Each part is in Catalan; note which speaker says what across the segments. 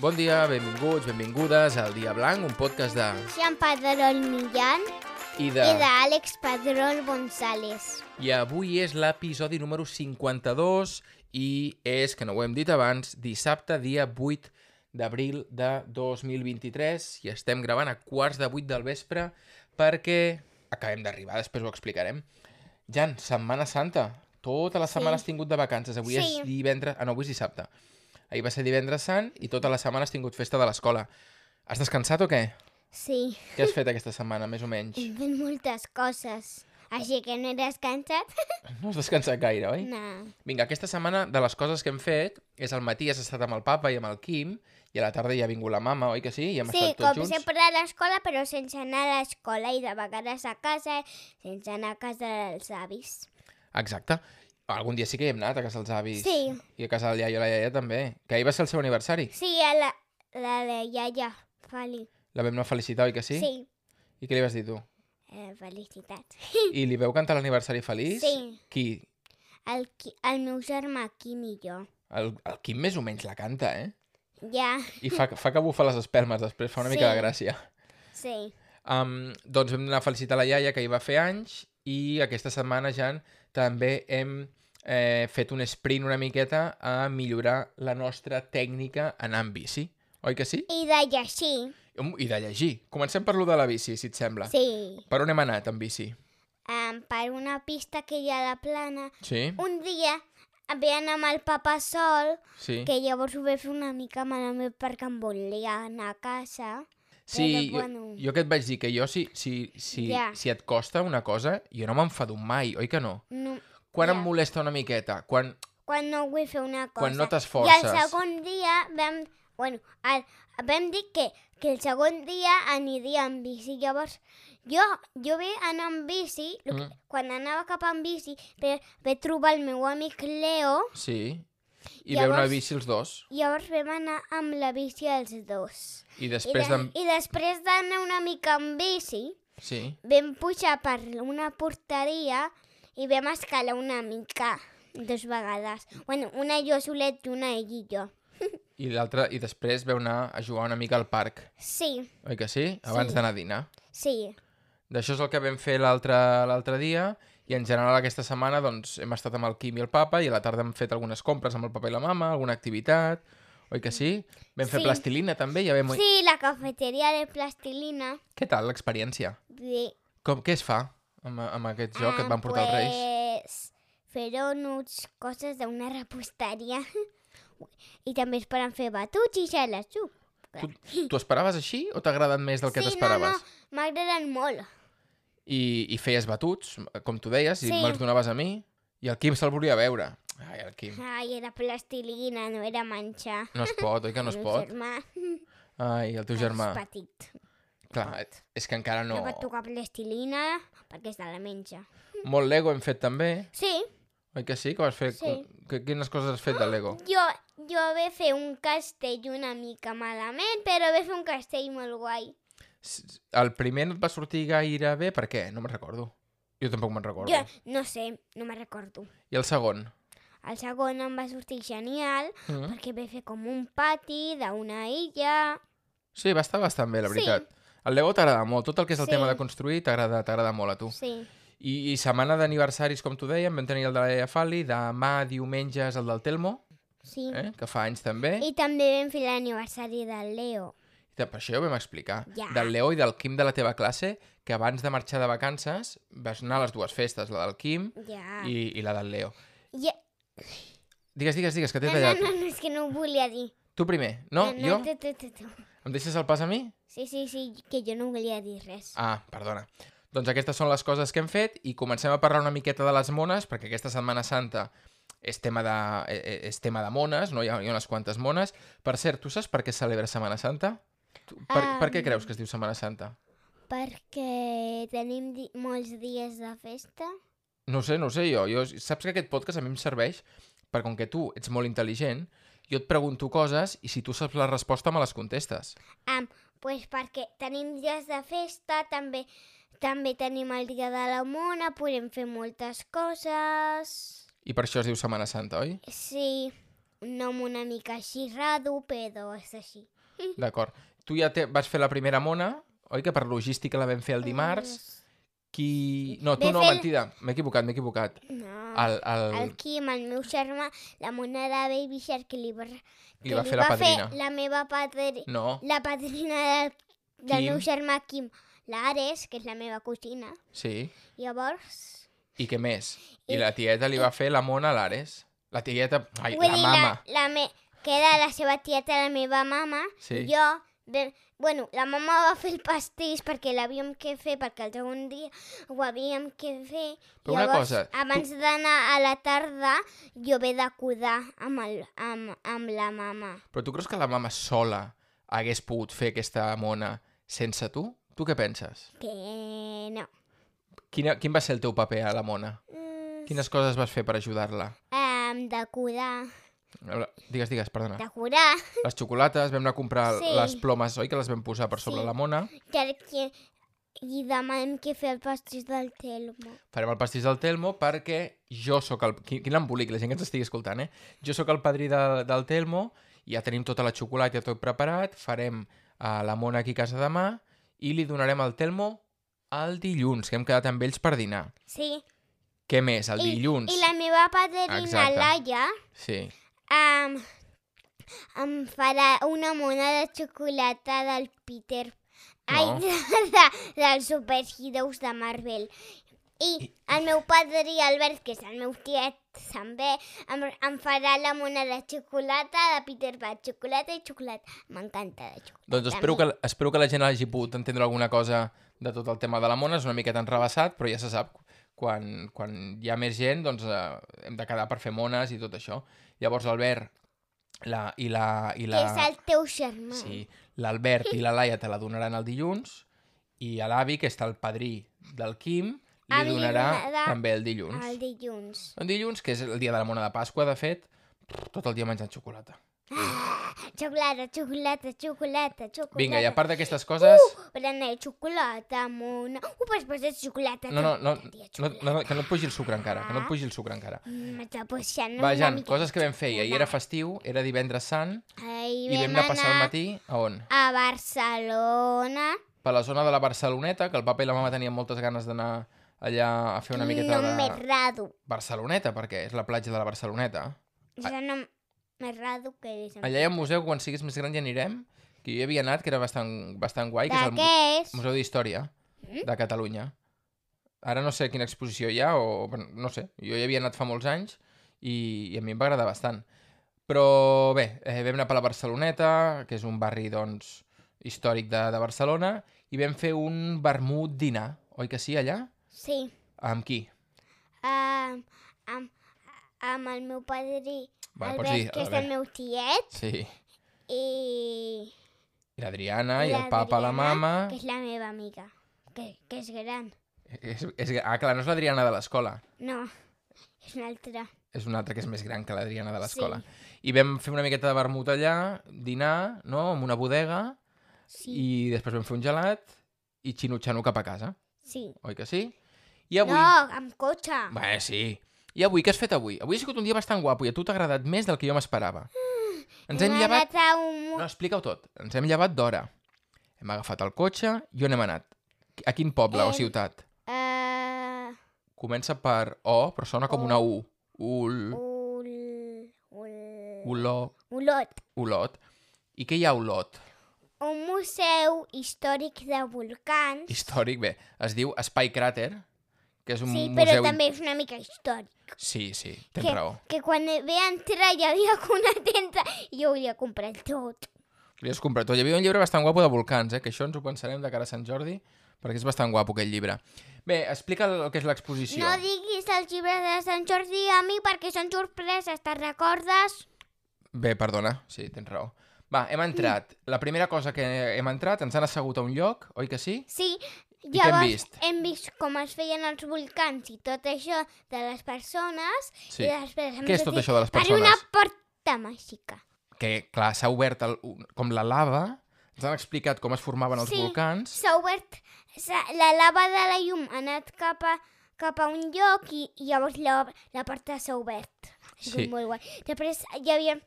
Speaker 1: Bon dia, benvinguts, benvingudes al Dia Blanc, un podcast de...
Speaker 2: Jean Padrol Millán
Speaker 1: I
Speaker 2: i d'Àlex Padrol González.
Speaker 1: I avui és l'episodi número 52 i és, que no ho hem dit abans, dissabte, dia 8 d'abril de 2023 i estem gravant a quarts de 8 del vespre perquè acabem d'arribar, després ho explicarem. Jan, Setmana Santa. Tota la setmana has tingut de vacances. Avui
Speaker 2: Sí.
Speaker 1: és divendres... Ah, no, avui és dissabte. Ahir va ser divendres sant i tota la setmana has tingut festa de l'escola. Has descansat o què?
Speaker 2: Sí,
Speaker 1: Què has fet aquesta setmana, més o menys?
Speaker 2: hem fet moltes coses, així que no he descansat.
Speaker 1: No has descansat gaire, oi?
Speaker 2: Mm. No.
Speaker 1: Vinga, aquesta setmana, de les coses que hem fet, és al matí has estat amb el papa i amb el Quim, i a la tarda ja ha vingut la mama, oi que sí? I hem
Speaker 2: Sí,
Speaker 1: estat tots
Speaker 2: com
Speaker 1: junts.
Speaker 2: sempre a l'escola, però sense anar a l'escola i de vegades a casa, sense anar a casa dels avis.
Speaker 1: Exacte. Algun dia sí que hi hem anat, a casa dels avis.
Speaker 2: Sí.
Speaker 1: I a casa del iaio i la iaia també. Que ahir va ser el seu aniversari.
Speaker 2: Sí, a la, la de iaia, Feli.
Speaker 1: La vam anar a felicitar, oi que sí?
Speaker 2: Sí,
Speaker 1: I què li vas dir tu?
Speaker 2: eh, felicitats.
Speaker 1: I li veu cantar l'aniversari feliç?
Speaker 2: Sí.
Speaker 1: Qui?
Speaker 2: El, Qui- el meu germà Quim i jo.
Speaker 1: El, el Quim més o menys la canta, eh?
Speaker 2: Ja,
Speaker 1: I fa, fa que bufa les espelmes després, fa una
Speaker 2: Sí.
Speaker 1: mica de gràcia.
Speaker 2: sí.
Speaker 1: Um, doncs vam anar a felicitar la iaia que hi va fer anys i aquesta setmana, Jan, també hem eh, fet un sprint una miqueta a millorar la nostra tècnica en amb bici. Oi que sí?
Speaker 2: I de llegir,
Speaker 1: Um, I de llegir. Comencem per lo de la bici, si et sembla.
Speaker 2: sí.
Speaker 1: Per on hem anat amb bici?
Speaker 2: um, per una pista que hi ha a la plana.
Speaker 1: Sí?
Speaker 2: Un dia vam anar amb el papa sol,
Speaker 1: Sí.
Speaker 2: que llavors ho vaig fer una mica malament perquè em volia anar a casa.
Speaker 1: Sí,
Speaker 2: Però,
Speaker 1: jo,
Speaker 2: eh, bueno.
Speaker 1: jo que et vaig dir que jo, si, si, si,
Speaker 2: Ja.
Speaker 1: si et costa una cosa, jo no m'enfado mai, oi que no?
Speaker 2: No,
Speaker 1: Quan
Speaker 2: Ja.
Speaker 1: em molesta una miqueta? Quan...
Speaker 2: quan no vull fer una cosa.
Speaker 1: Quan no
Speaker 2: I
Speaker 1: t'esforces.
Speaker 2: el segon dia vam... Bueno, el, vam dir que, que el segon dia aniria amb bici. Llavors, jo, jo vaig anar amb bici, lo que-
Speaker 1: Mm.
Speaker 2: quan anava cap amb bici, ve- vaig trobar el meu amic Leo,
Speaker 1: Sí. I veu una
Speaker 2: Llavors-
Speaker 1: bici els dos.
Speaker 2: llavors vam anar amb la bici els dos.
Speaker 1: I
Speaker 2: I,
Speaker 1: després
Speaker 2: de,
Speaker 1: d'en-
Speaker 2: I després d'anar una mica amb bici,
Speaker 1: Sí.
Speaker 2: vam pujar per una porteria i vam escalar una mica, dues vegades. Bueno, una jo solet i una ell i jo.
Speaker 1: I l'altre, i després veu anar a jugar una mica al parc,
Speaker 2: Sí,
Speaker 1: oi que sí? Abans
Speaker 2: Sí.
Speaker 1: d'anar a dinar.
Speaker 2: sí,
Speaker 1: D'això és el que vam fer l'altre l'altre dia, i en general aquesta setmana doncs, hem estat amb el Quim i el papa, i a la tarda hem fet algunes compres amb el papa i la mama, alguna activitat, oi que sí? Vam fer
Speaker 2: Sí.
Speaker 1: plastilina també, ja vam...
Speaker 2: sí, la cafeteria de plastilina.
Speaker 1: Què tal l'experiència?
Speaker 2: Bé,
Speaker 1: Com, què es fa amb, amb aquest joc que et van portar
Speaker 2: Ah,
Speaker 1: els Reis?
Speaker 2: pues, fer donuts, coses d'una reposteria. I també es poden fer batuts i gelatxú.
Speaker 1: Tu, tu esperaves així o t'ha agradat més del que
Speaker 2: sí, no, no,
Speaker 1: t'esperaves?
Speaker 2: m'agraden molt.
Speaker 1: i, i feies batuts, com tu deies, i
Speaker 2: Sí.
Speaker 1: me'ls donaves a mi, i el Quim se'l volia veure. Ai, el Quim.
Speaker 2: Ai, era plastilina, no era menjar.
Speaker 1: No es pot, oi que no es
Speaker 2: El meu
Speaker 1: pot?
Speaker 2: Germà,
Speaker 1: Ai, el teu germà.
Speaker 2: És petit.
Speaker 1: Clar, és que encara
Speaker 2: No.
Speaker 1: no...
Speaker 2: no pot tocar plastilina perquè és de la menja.
Speaker 1: Molt Lego hem fet també,
Speaker 2: Sí,
Speaker 1: oi que sí? Que vas fer...
Speaker 2: Sí.
Speaker 1: Que, quines coses has fet de Lego?
Speaker 2: jo, jo vaig fer un castell una mica malament, però vaig fer un castell molt guai.
Speaker 1: S- El primer no et va sortir gaire bé, per què? No me'n recordo. Jo tampoc me'n recordo.
Speaker 2: Jo no sé, no me'n recordo.
Speaker 1: I el segon?
Speaker 2: El segon em va sortir genial
Speaker 1: Mm.
Speaker 2: perquè vaig fer com un pati d'una illa.
Speaker 1: Sí, va estar bastant bé, la
Speaker 2: Sí.
Speaker 1: veritat. El Lego t'agrada molt, tot el que és el
Speaker 2: Sí.
Speaker 1: tema de construir t'agrada t'agrada molt a tu.
Speaker 2: Sí,
Speaker 1: I, I setmana d'aniversaris, com tu dèiem, vam tenir el de la Iaia Fali, demà diumenge és el del Telmo,
Speaker 2: sí.
Speaker 1: eh? que fa anys també, i...
Speaker 2: I també vam fer l'aniversari del Leo.
Speaker 1: per això ja ho vam explicar,
Speaker 2: Ja.
Speaker 1: del Leo i del Quim de la teva classe, que abans de marxar de vacances vas anar a les dues festes, la del Quim
Speaker 2: Ja. I...
Speaker 1: i, i la del Leo.
Speaker 2: ja...
Speaker 1: Digues, digues, digues, que
Speaker 2: No,
Speaker 1: t'he
Speaker 2: no,
Speaker 1: tallat.
Speaker 2: no, no, és que no ho volia dir.
Speaker 1: Tu primer, no?
Speaker 2: no,
Speaker 1: jo?
Speaker 2: no, tu, tu, tu, tu.
Speaker 1: Em deixes el pas a mi?
Speaker 2: Sí, sí, sí, que jo no volia dir res.
Speaker 1: Ah, perdona. Doncs aquestes són les coses que hem fet i comencem a parlar una miqueta de les mones, perquè aquesta Setmana Santa és tema de, eh, eh, és tema de mones, no? Hi ha, hi ha unes quantes mones. Per cert, tu saps per què es celebra Setmana Santa? Tu, per, um... per què
Speaker 2: Am.
Speaker 1: creus que es diu Setmana Santa?
Speaker 2: Perquè tenim di molts dies de festa.
Speaker 1: No ho sé, no ho sé jo. jo. Saps que aquest podcast a mi em serveix perquè com que tu ets molt intel·ligent, jo et pregunto coses i si tu saps la resposta me les contestes.
Speaker 2: Am, Ah, pues perquè tenim dies de festa, també també tenim el dia de la mona, podem fer moltes coses.
Speaker 1: I per això es diu Setmana Santa, oi?
Speaker 2: Sí, un nom una mica així raro, però és així.
Speaker 1: D'acord. Tu ja te... vas fer la primera mona, oi? Que per logística la vam fer el dimarts. Qui... No, tu
Speaker 2: Ve
Speaker 1: no,
Speaker 2: fer el-
Speaker 1: mentida. M'he equivocat, m'he equivocat.
Speaker 2: No.
Speaker 1: El, el...
Speaker 2: El Quim, el meu germà, la mona de Baby Shark que li va, que
Speaker 1: va fer la padrina.
Speaker 2: la meva padrina,
Speaker 1: No,
Speaker 2: la padrina del, del
Speaker 1: Quim.
Speaker 2: meu germà Quim, l'Ares, que és la meva cosina.
Speaker 1: sí.
Speaker 2: Llavors,
Speaker 1: I què més? I
Speaker 2: I-
Speaker 1: la tieta li va fer la mona a l'Ares. La tieta... Ai,
Speaker 2: eh. vull
Speaker 1: la
Speaker 2: dir,
Speaker 1: mama.
Speaker 2: la, la me, que era la seva tieta, la meva mama,
Speaker 1: Sí.
Speaker 2: jo... De, bueno, la mama va fer el pastís perquè l'havíem que fer, perquè el segon dia ho havíem que fer.
Speaker 1: Però una cosa, tu-
Speaker 2: abans d'anar a la tarda, jo ve de cuidar amb, el, amb, amb la mama.
Speaker 1: Però tu creus que la mama sola hagués pogut fer aquesta mona sense tu? Tu què penses?
Speaker 2: Que no.
Speaker 1: Quina, quin va ser el teu paper a la mona?
Speaker 2: Mm,
Speaker 1: Quines coses vas fer per ajudar-la?
Speaker 2: em, de curar.
Speaker 1: Digues, digues, perdona.
Speaker 2: De curar.
Speaker 1: Les xocolates, vam anar a comprar
Speaker 2: Sí.
Speaker 1: les plomes, oi? Que les vam posar per sobre
Speaker 2: Sí.
Speaker 1: la mona.
Speaker 2: Perquè i demà hem que fer el pastís del Telmo.
Speaker 1: Farem el pastís del Telmo perquè jo sóc el... Quin, quin embolic, la gent que ens estigui escoltant, eh? Jo sóc el padrí de, del Telmo, ja tenim tota la xocolata tot preparat, farem a la mona aquí a casa demà i li donarem al Telmo el dilluns, que hem quedat amb ells per dinar.
Speaker 2: Sí.
Speaker 1: Què més? El
Speaker 2: I,
Speaker 1: dilluns.
Speaker 2: I la meva padrina,
Speaker 1: Exacte.
Speaker 2: Laia,
Speaker 1: Sí.
Speaker 2: em, em farà una mona de xocolata del Peter... Ai,
Speaker 1: No.
Speaker 2: de, de, dels superheroes de Marvel. I el meu padrí, Albert, que és el meu tiet, també, em, em farà la mona de xocolata de Peter Pan. Xocolata i xocolata. M'encanta de xocolata.
Speaker 1: Doncs espero que, espero que la gent hagi pogut entendre alguna cosa de tot el tema de la mona. És una miqueta enrebaçat, però ja se sap. Quan, quan hi ha més gent, doncs eh, hem de quedar per fer mones i tot això. Llavors, Albert la, i la... I la...
Speaker 2: Que és el teu germà.
Speaker 1: Sí, l'Albert i la Laia te la donaran el dilluns i a l'avi, que està el padrí del Quim, li
Speaker 2: Em li
Speaker 1: donarà
Speaker 2: donarà
Speaker 1: també el dilluns.
Speaker 2: El
Speaker 1: El...
Speaker 2: dilluns.
Speaker 1: dilluns, que és el dia de la mona de Pasqua, de fet, tot el dia menjant xocolata.
Speaker 2: Xocolata, xocolata, xocolata, xocolata.
Speaker 1: Vinga, i a part d'aquestes coses...
Speaker 2: Uh! Berenar de xocolata, mona. Uh, Ho pots posar de xocolata.
Speaker 1: No, no, no,
Speaker 2: tonteria,
Speaker 1: no,
Speaker 2: xocolata.
Speaker 1: no, no, que no et pugi el sucre encara, que Ah. no et pugi el sucre encara.
Speaker 2: Mm, M'està posant
Speaker 1: Va,
Speaker 2: una
Speaker 1: Jan,
Speaker 2: mica
Speaker 1: coses que vam
Speaker 2: de
Speaker 1: fer. Ahir era festiu, era divendres sant,
Speaker 2: xocolata. Ahir
Speaker 1: i vam anar a passar el matí a on?
Speaker 2: eh, a Barcelona.
Speaker 1: Per la zona de la Barceloneta, que el papa i la mama tenien moltes ganes d'anar allà a fer una miqueta
Speaker 2: no
Speaker 1: de...
Speaker 2: m'errado.
Speaker 1: Barceloneta, perquè és la platja de la Barceloneta. Ah.
Speaker 2: Ja no m'errado que és.
Speaker 1: Allà hi ha un museu, quan siguis més gran ja anirem, que jo hi havia anat, que era bastant, bastant guai, que
Speaker 2: De
Speaker 1: és el
Speaker 2: què
Speaker 1: Mu-
Speaker 2: és?
Speaker 1: Museu d'Història de Catalunya. Ara no sé quina exposició hi ha, o bueno, no sé, jo hi havia anat fa molts anys i, i a mi em va agradar bastant. Però bé, eh, vam anar per la Barceloneta, que és un barri doncs, històric de, de Barcelona, i vam fer un vermut dinar, oi que sí, allà?
Speaker 2: Sí.
Speaker 1: Amb qui?
Speaker 2: Um, amb, amb el meu padrí,
Speaker 1: Va, pots
Speaker 2: Albert,
Speaker 1: dir,
Speaker 2: que és el
Speaker 1: Albert.
Speaker 2: meu tiet,
Speaker 1: Sí.
Speaker 2: i...
Speaker 1: I l'Adriana, i,
Speaker 2: I
Speaker 1: el papa, la
Speaker 2: l'Adriana,
Speaker 1: mama...
Speaker 2: Que és la meva amiga, que, que és gran.
Speaker 1: És, és, ah, clar, no és l'Adriana de l'escola.
Speaker 2: No, és una altra.
Speaker 1: És una altra que és més gran que l'Adriana de l'escola. I vam fer una miqueta de vermut allà, dinar, no?, en una bodega,
Speaker 2: Sí,
Speaker 1: sí.
Speaker 2: I...
Speaker 1: i després vam fer un gelat i xinutxano cap a casa,
Speaker 2: sí.
Speaker 1: oi que sí? I avui...
Speaker 2: No, amb cotxe.
Speaker 1: Bé, sí. I avui, què has fet avui? Avui ha sigut un dia bastant guapo i a tu t'ha agradat més del que jo m'esperava. Ens hem llevat...
Speaker 2: Mm, anat a un...
Speaker 1: No, explica-ho tot. Ens hem llevat d'hora. Hem agafat el cotxe i on hem anat? A quin poble o
Speaker 2: Em-
Speaker 1: ciutat?
Speaker 2: Eh,
Speaker 1: Ah. Comença per O, però sona com una U. Ul...
Speaker 2: ul... Ul...
Speaker 1: Olor...
Speaker 2: Olot.
Speaker 1: Olot. I què hi ha a Olot?
Speaker 2: Un museu històric de volcans.
Speaker 1: Històric, bé. Es diu Espai Cràter, que és un
Speaker 2: Sí, però
Speaker 1: museu...
Speaker 2: també és una mica històric.
Speaker 1: Sí, sí, tens
Speaker 2: que,
Speaker 1: raó.
Speaker 2: que quan ve a entrar hi havia una tenda i jo volia comprar tot.
Speaker 1: Li has comprat tot. Hi havia un llibre bastant guapo de volcans, eh? que això ens ho pensarem de cara a Sant Jordi, perquè és bastant guapo aquest llibre. Bé, explica el que és l'exposició.
Speaker 2: No diguis els llibres de Sant Jordi a mi perquè són sorpreses, te'n recordes?
Speaker 1: Bé, perdona, sí, tens raó. Va, hem
Speaker 2: Mm.
Speaker 1: entrat. La primera cosa que hem entrat, ens han assegut a un lloc, oi que sí?
Speaker 2: Sí,
Speaker 1: què hem vist?
Speaker 2: hem vist com es feien els volcans i tot això de les persones.
Speaker 1: Sí.
Speaker 2: I després hem
Speaker 1: Què és tot
Speaker 2: sortit
Speaker 1: això de les
Speaker 2: Per una
Speaker 1: persones?
Speaker 2: porta màgica.
Speaker 1: Que, clar, s'ha obert el, un- com la lava, ens han explicat com es formaven els
Speaker 2: Sí.
Speaker 1: volcans.
Speaker 2: S'ha obert s'ha- la lava de la llum, ha anat cap a, cap a un lloc i, i llavors la, la porta s'ha obert. Ha sigut
Speaker 1: Sí.
Speaker 2: molt guai. Després hi havia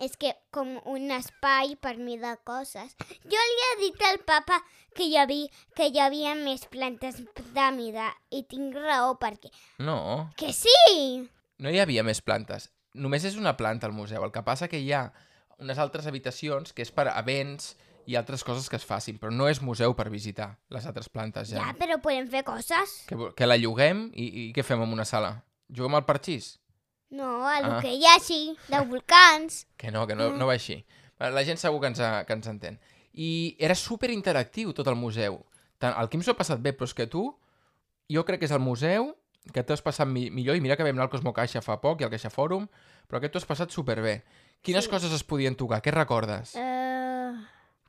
Speaker 2: és que com un espai per mi de coses. Jo li he dit al papa que hi havia, que hi havia més plantes de mida i tinc raó perquè...
Speaker 1: No,
Speaker 2: Que sí!
Speaker 1: no hi havia més plantes. Només és una planta al museu. El que passa que hi ha unes altres habitacions que és per events i altres coses que es facin, però no és museu per visitar les altres plantes
Speaker 2: Ja,
Speaker 1: ja.
Speaker 2: ja però podem fer coses.
Speaker 1: Que, vo- que la lloguem i, i què fem amb una sala? Juguem al parxís?
Speaker 2: No, a lo
Speaker 1: Ah.
Speaker 2: que hi ha així, de volcans.
Speaker 1: Que no, que no, no va així. La gent segur que ens, ha- que ens entén. I era super interactiu tot el museu. Tant, el Quim s'ho ha passat bé, però és que tu, jo crec que és el museu que t'ho has passat mi millor, i mira que vam anar al Cosmo Caixa fa poc i al Caixa Fòrum, però aquest t'ho has passat superbé. Quines
Speaker 2: Sí.
Speaker 1: coses es podien tocar? Què recordes?
Speaker 2: Uh,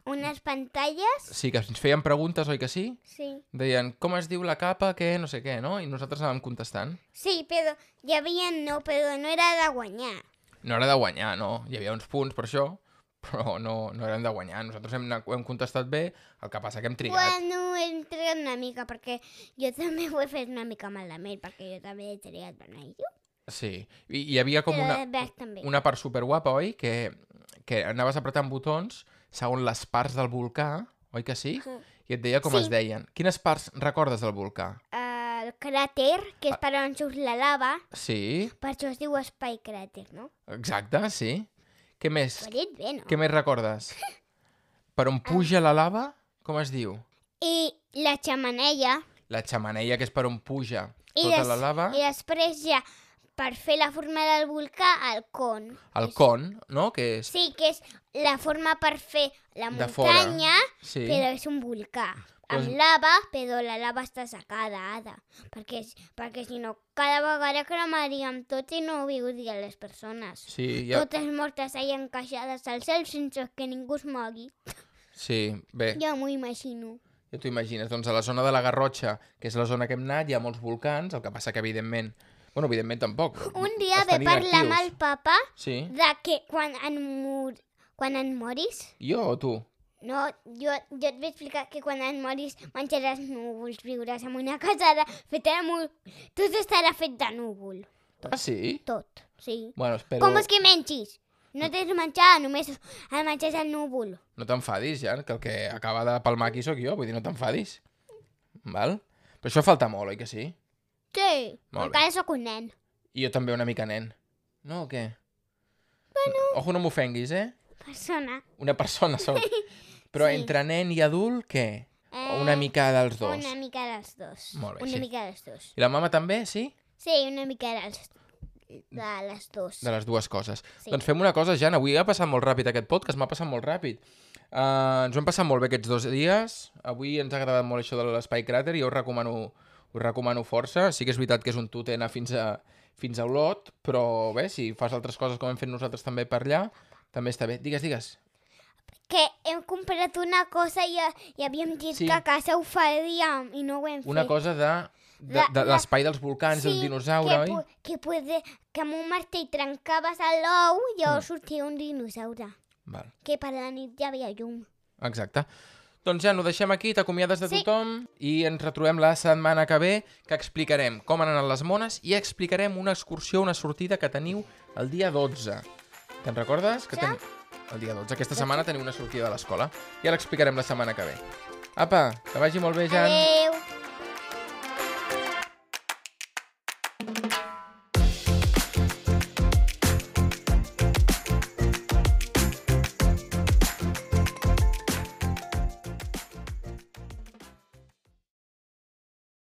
Speaker 2: unes pantalles,
Speaker 1: Sí, que ens feien preguntes, oi que sí?
Speaker 2: sí.
Speaker 1: Deien, com es diu la capa, què, no sé què, no? I nosaltres anàvem contestant.
Speaker 2: Sí, però hi havia no, però no era de guanyar.
Speaker 1: No era de guanyar, no. Hi havia uns punts per això, però no, no eren de guanyar. Nosaltres hem, anat- hem contestat bé, el que passa que hem trigat.
Speaker 2: Bueno, hem triat una mica, perquè jo també ho he fet una mica malament, perquè jo també he triat vermell.
Speaker 1: Sí, i hi havia com
Speaker 2: Però
Speaker 1: una,
Speaker 2: el verd també.
Speaker 1: una part superguapa, oi? Que, que anaves apretant botons segons les parts del volcà, oi que sí?
Speaker 2: Sí.
Speaker 1: I et deia com
Speaker 2: Sí.
Speaker 1: es deien. Quines parts recordes del volcà?
Speaker 2: Ah, El cràter, que
Speaker 1: Ah.
Speaker 2: és per on surt la lava,
Speaker 1: Sí,
Speaker 2: per això es diu espai cràter, no?
Speaker 1: exacte, sí. Què més?
Speaker 2: Ho he dit bé, no?
Speaker 1: Què més recordes? Per
Speaker 2: Ah.
Speaker 1: on puja la lava? Com es diu?
Speaker 2: I la xamanella,
Speaker 1: La xamaneia, que és per on puja
Speaker 2: I
Speaker 1: tota
Speaker 2: des-
Speaker 1: la lava.
Speaker 2: i després ja, per fer la forma del volcà, el con.
Speaker 1: El con, no? Que és...
Speaker 2: Sí, que és la forma per fer la
Speaker 1: De fora.
Speaker 2: muntanya,
Speaker 1: Sí.
Speaker 2: però és un volcà. Amb
Speaker 1: Doncs-
Speaker 2: lava, però la lava està secada, ara. Perquè, és- perquè si no, cada vegada cremaríem tot i no viurien les persones.
Speaker 1: Sí,
Speaker 2: Ja.
Speaker 1: ja...
Speaker 2: Totes mortes ahí encaixades al cel sense que ningú es mogui.
Speaker 1: sí, bé.
Speaker 2: Jo m'ho imagino.
Speaker 1: Ja t'ho imagines. Doncs a la zona de la Garrotxa, que és la zona que hem anat, hi ha molts volcans, el que passa que evidentment... Bueno, evidentment tampoc.
Speaker 2: Un dia ve
Speaker 1: estan
Speaker 2: parlar amb el
Speaker 1: inactius.
Speaker 2: papa
Speaker 1: Sí.
Speaker 2: de que quan en, mor... quan en moris...
Speaker 1: Jo o tu?
Speaker 2: No, jo, jo et vaig explicar que quan et moris menjaràs núvols, viuràs en una casada feta de núvol. Tot estarà fet de núvol.
Speaker 1: Ah, sí?
Speaker 2: Tot, sí.
Speaker 1: Bueno, espero...
Speaker 2: Però... Com és que mengis? No tens menjar, només el menjar és el núvol.
Speaker 1: No t'enfadis, ja, que el que acaba de palmar aquí sóc jo, vull dir, no t'enfadis. Val? Però això falta molt, oi que sí?
Speaker 2: Sí,
Speaker 1: Molt bé.
Speaker 2: encara sóc un nen.
Speaker 1: I jo també una mica nen. No o què? Bueno... Ojo, no m'ofenguis, eh?
Speaker 2: Persona.
Speaker 1: Una persona sóc. Però
Speaker 2: Sí.
Speaker 1: entre nen i adult, què? O una mica dels dos.
Speaker 2: eh, Una mica dels dos.
Speaker 1: Molt bé,
Speaker 2: una
Speaker 1: sí.
Speaker 2: mica dels dos.
Speaker 1: I la mama també, sí?
Speaker 2: Sí, una mica dels, de les dos.
Speaker 1: De les dues coses.
Speaker 2: Sí.
Speaker 1: Sí. Doncs fem una cosa, Jan. Avui ha passat molt ràpid aquest podcast, m'ha passat molt ràpid. Uh, ens ho hem passat molt bé aquests dos dies. Avui ens ha agradat molt això de l'Espai Cràter i jo us recomano, us recomano força. Sí que és veritat que és un tut anar fins a, fins a Olot, però bé, si fas altres coses com hem fet nosaltres també per allà, també està bé. Digues, digues.
Speaker 2: Que hem comprat una cosa i, i havíem dit
Speaker 1: Sí.
Speaker 2: que a casa ho faríem i no ho hem
Speaker 1: Una
Speaker 2: fet.
Speaker 1: cosa de, de,
Speaker 2: La-
Speaker 1: de
Speaker 2: la-
Speaker 1: l'espai dels volcans, sí, del dinosaure,
Speaker 2: que,
Speaker 1: oi?
Speaker 2: pu- Que, poder, que amb un martell trencaves l'ou i llavors mm. sortia un dinosaure.
Speaker 1: Val.
Speaker 2: Que per la nit ja havia llum.
Speaker 1: Exacte. Doncs ja, ho deixem aquí, t'acomiades de
Speaker 2: Sí.
Speaker 1: tothom i ens retrobem la setmana que ve que explicarem com han anat les mones i explicarem una excursió, una sortida que teniu el dia 12. Te'n recordes? Que ten... El dia 12. Aquesta setmana teniu una sortida de l'escola. Ja l'explicarem la setmana que ve. Apa, que vagi molt bé, Jan.
Speaker 2: Adeu!